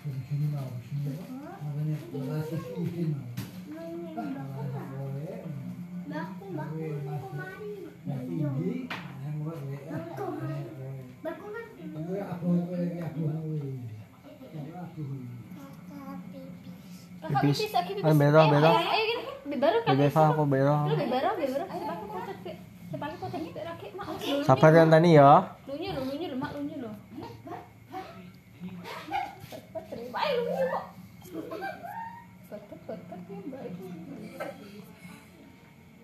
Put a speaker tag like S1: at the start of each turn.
S1: sini mau sini makanya nasi sini mau boleh yang tinggi yang buat aku aku aku aku
S2: Kakak
S3: Pipis.
S2: pipis, aku pipis.
S3: Ay, berok,
S2: Ayo,
S3: berok.
S2: Eh, Ayo, ayo, gini. Bibaru kan.
S3: Bebe fa ako bero.
S2: Lu bibaru, bibaru. Sepakku kotak, Pi. Sepakku kotak, Pi. Raki, mak.
S3: Sabar yan tani ya.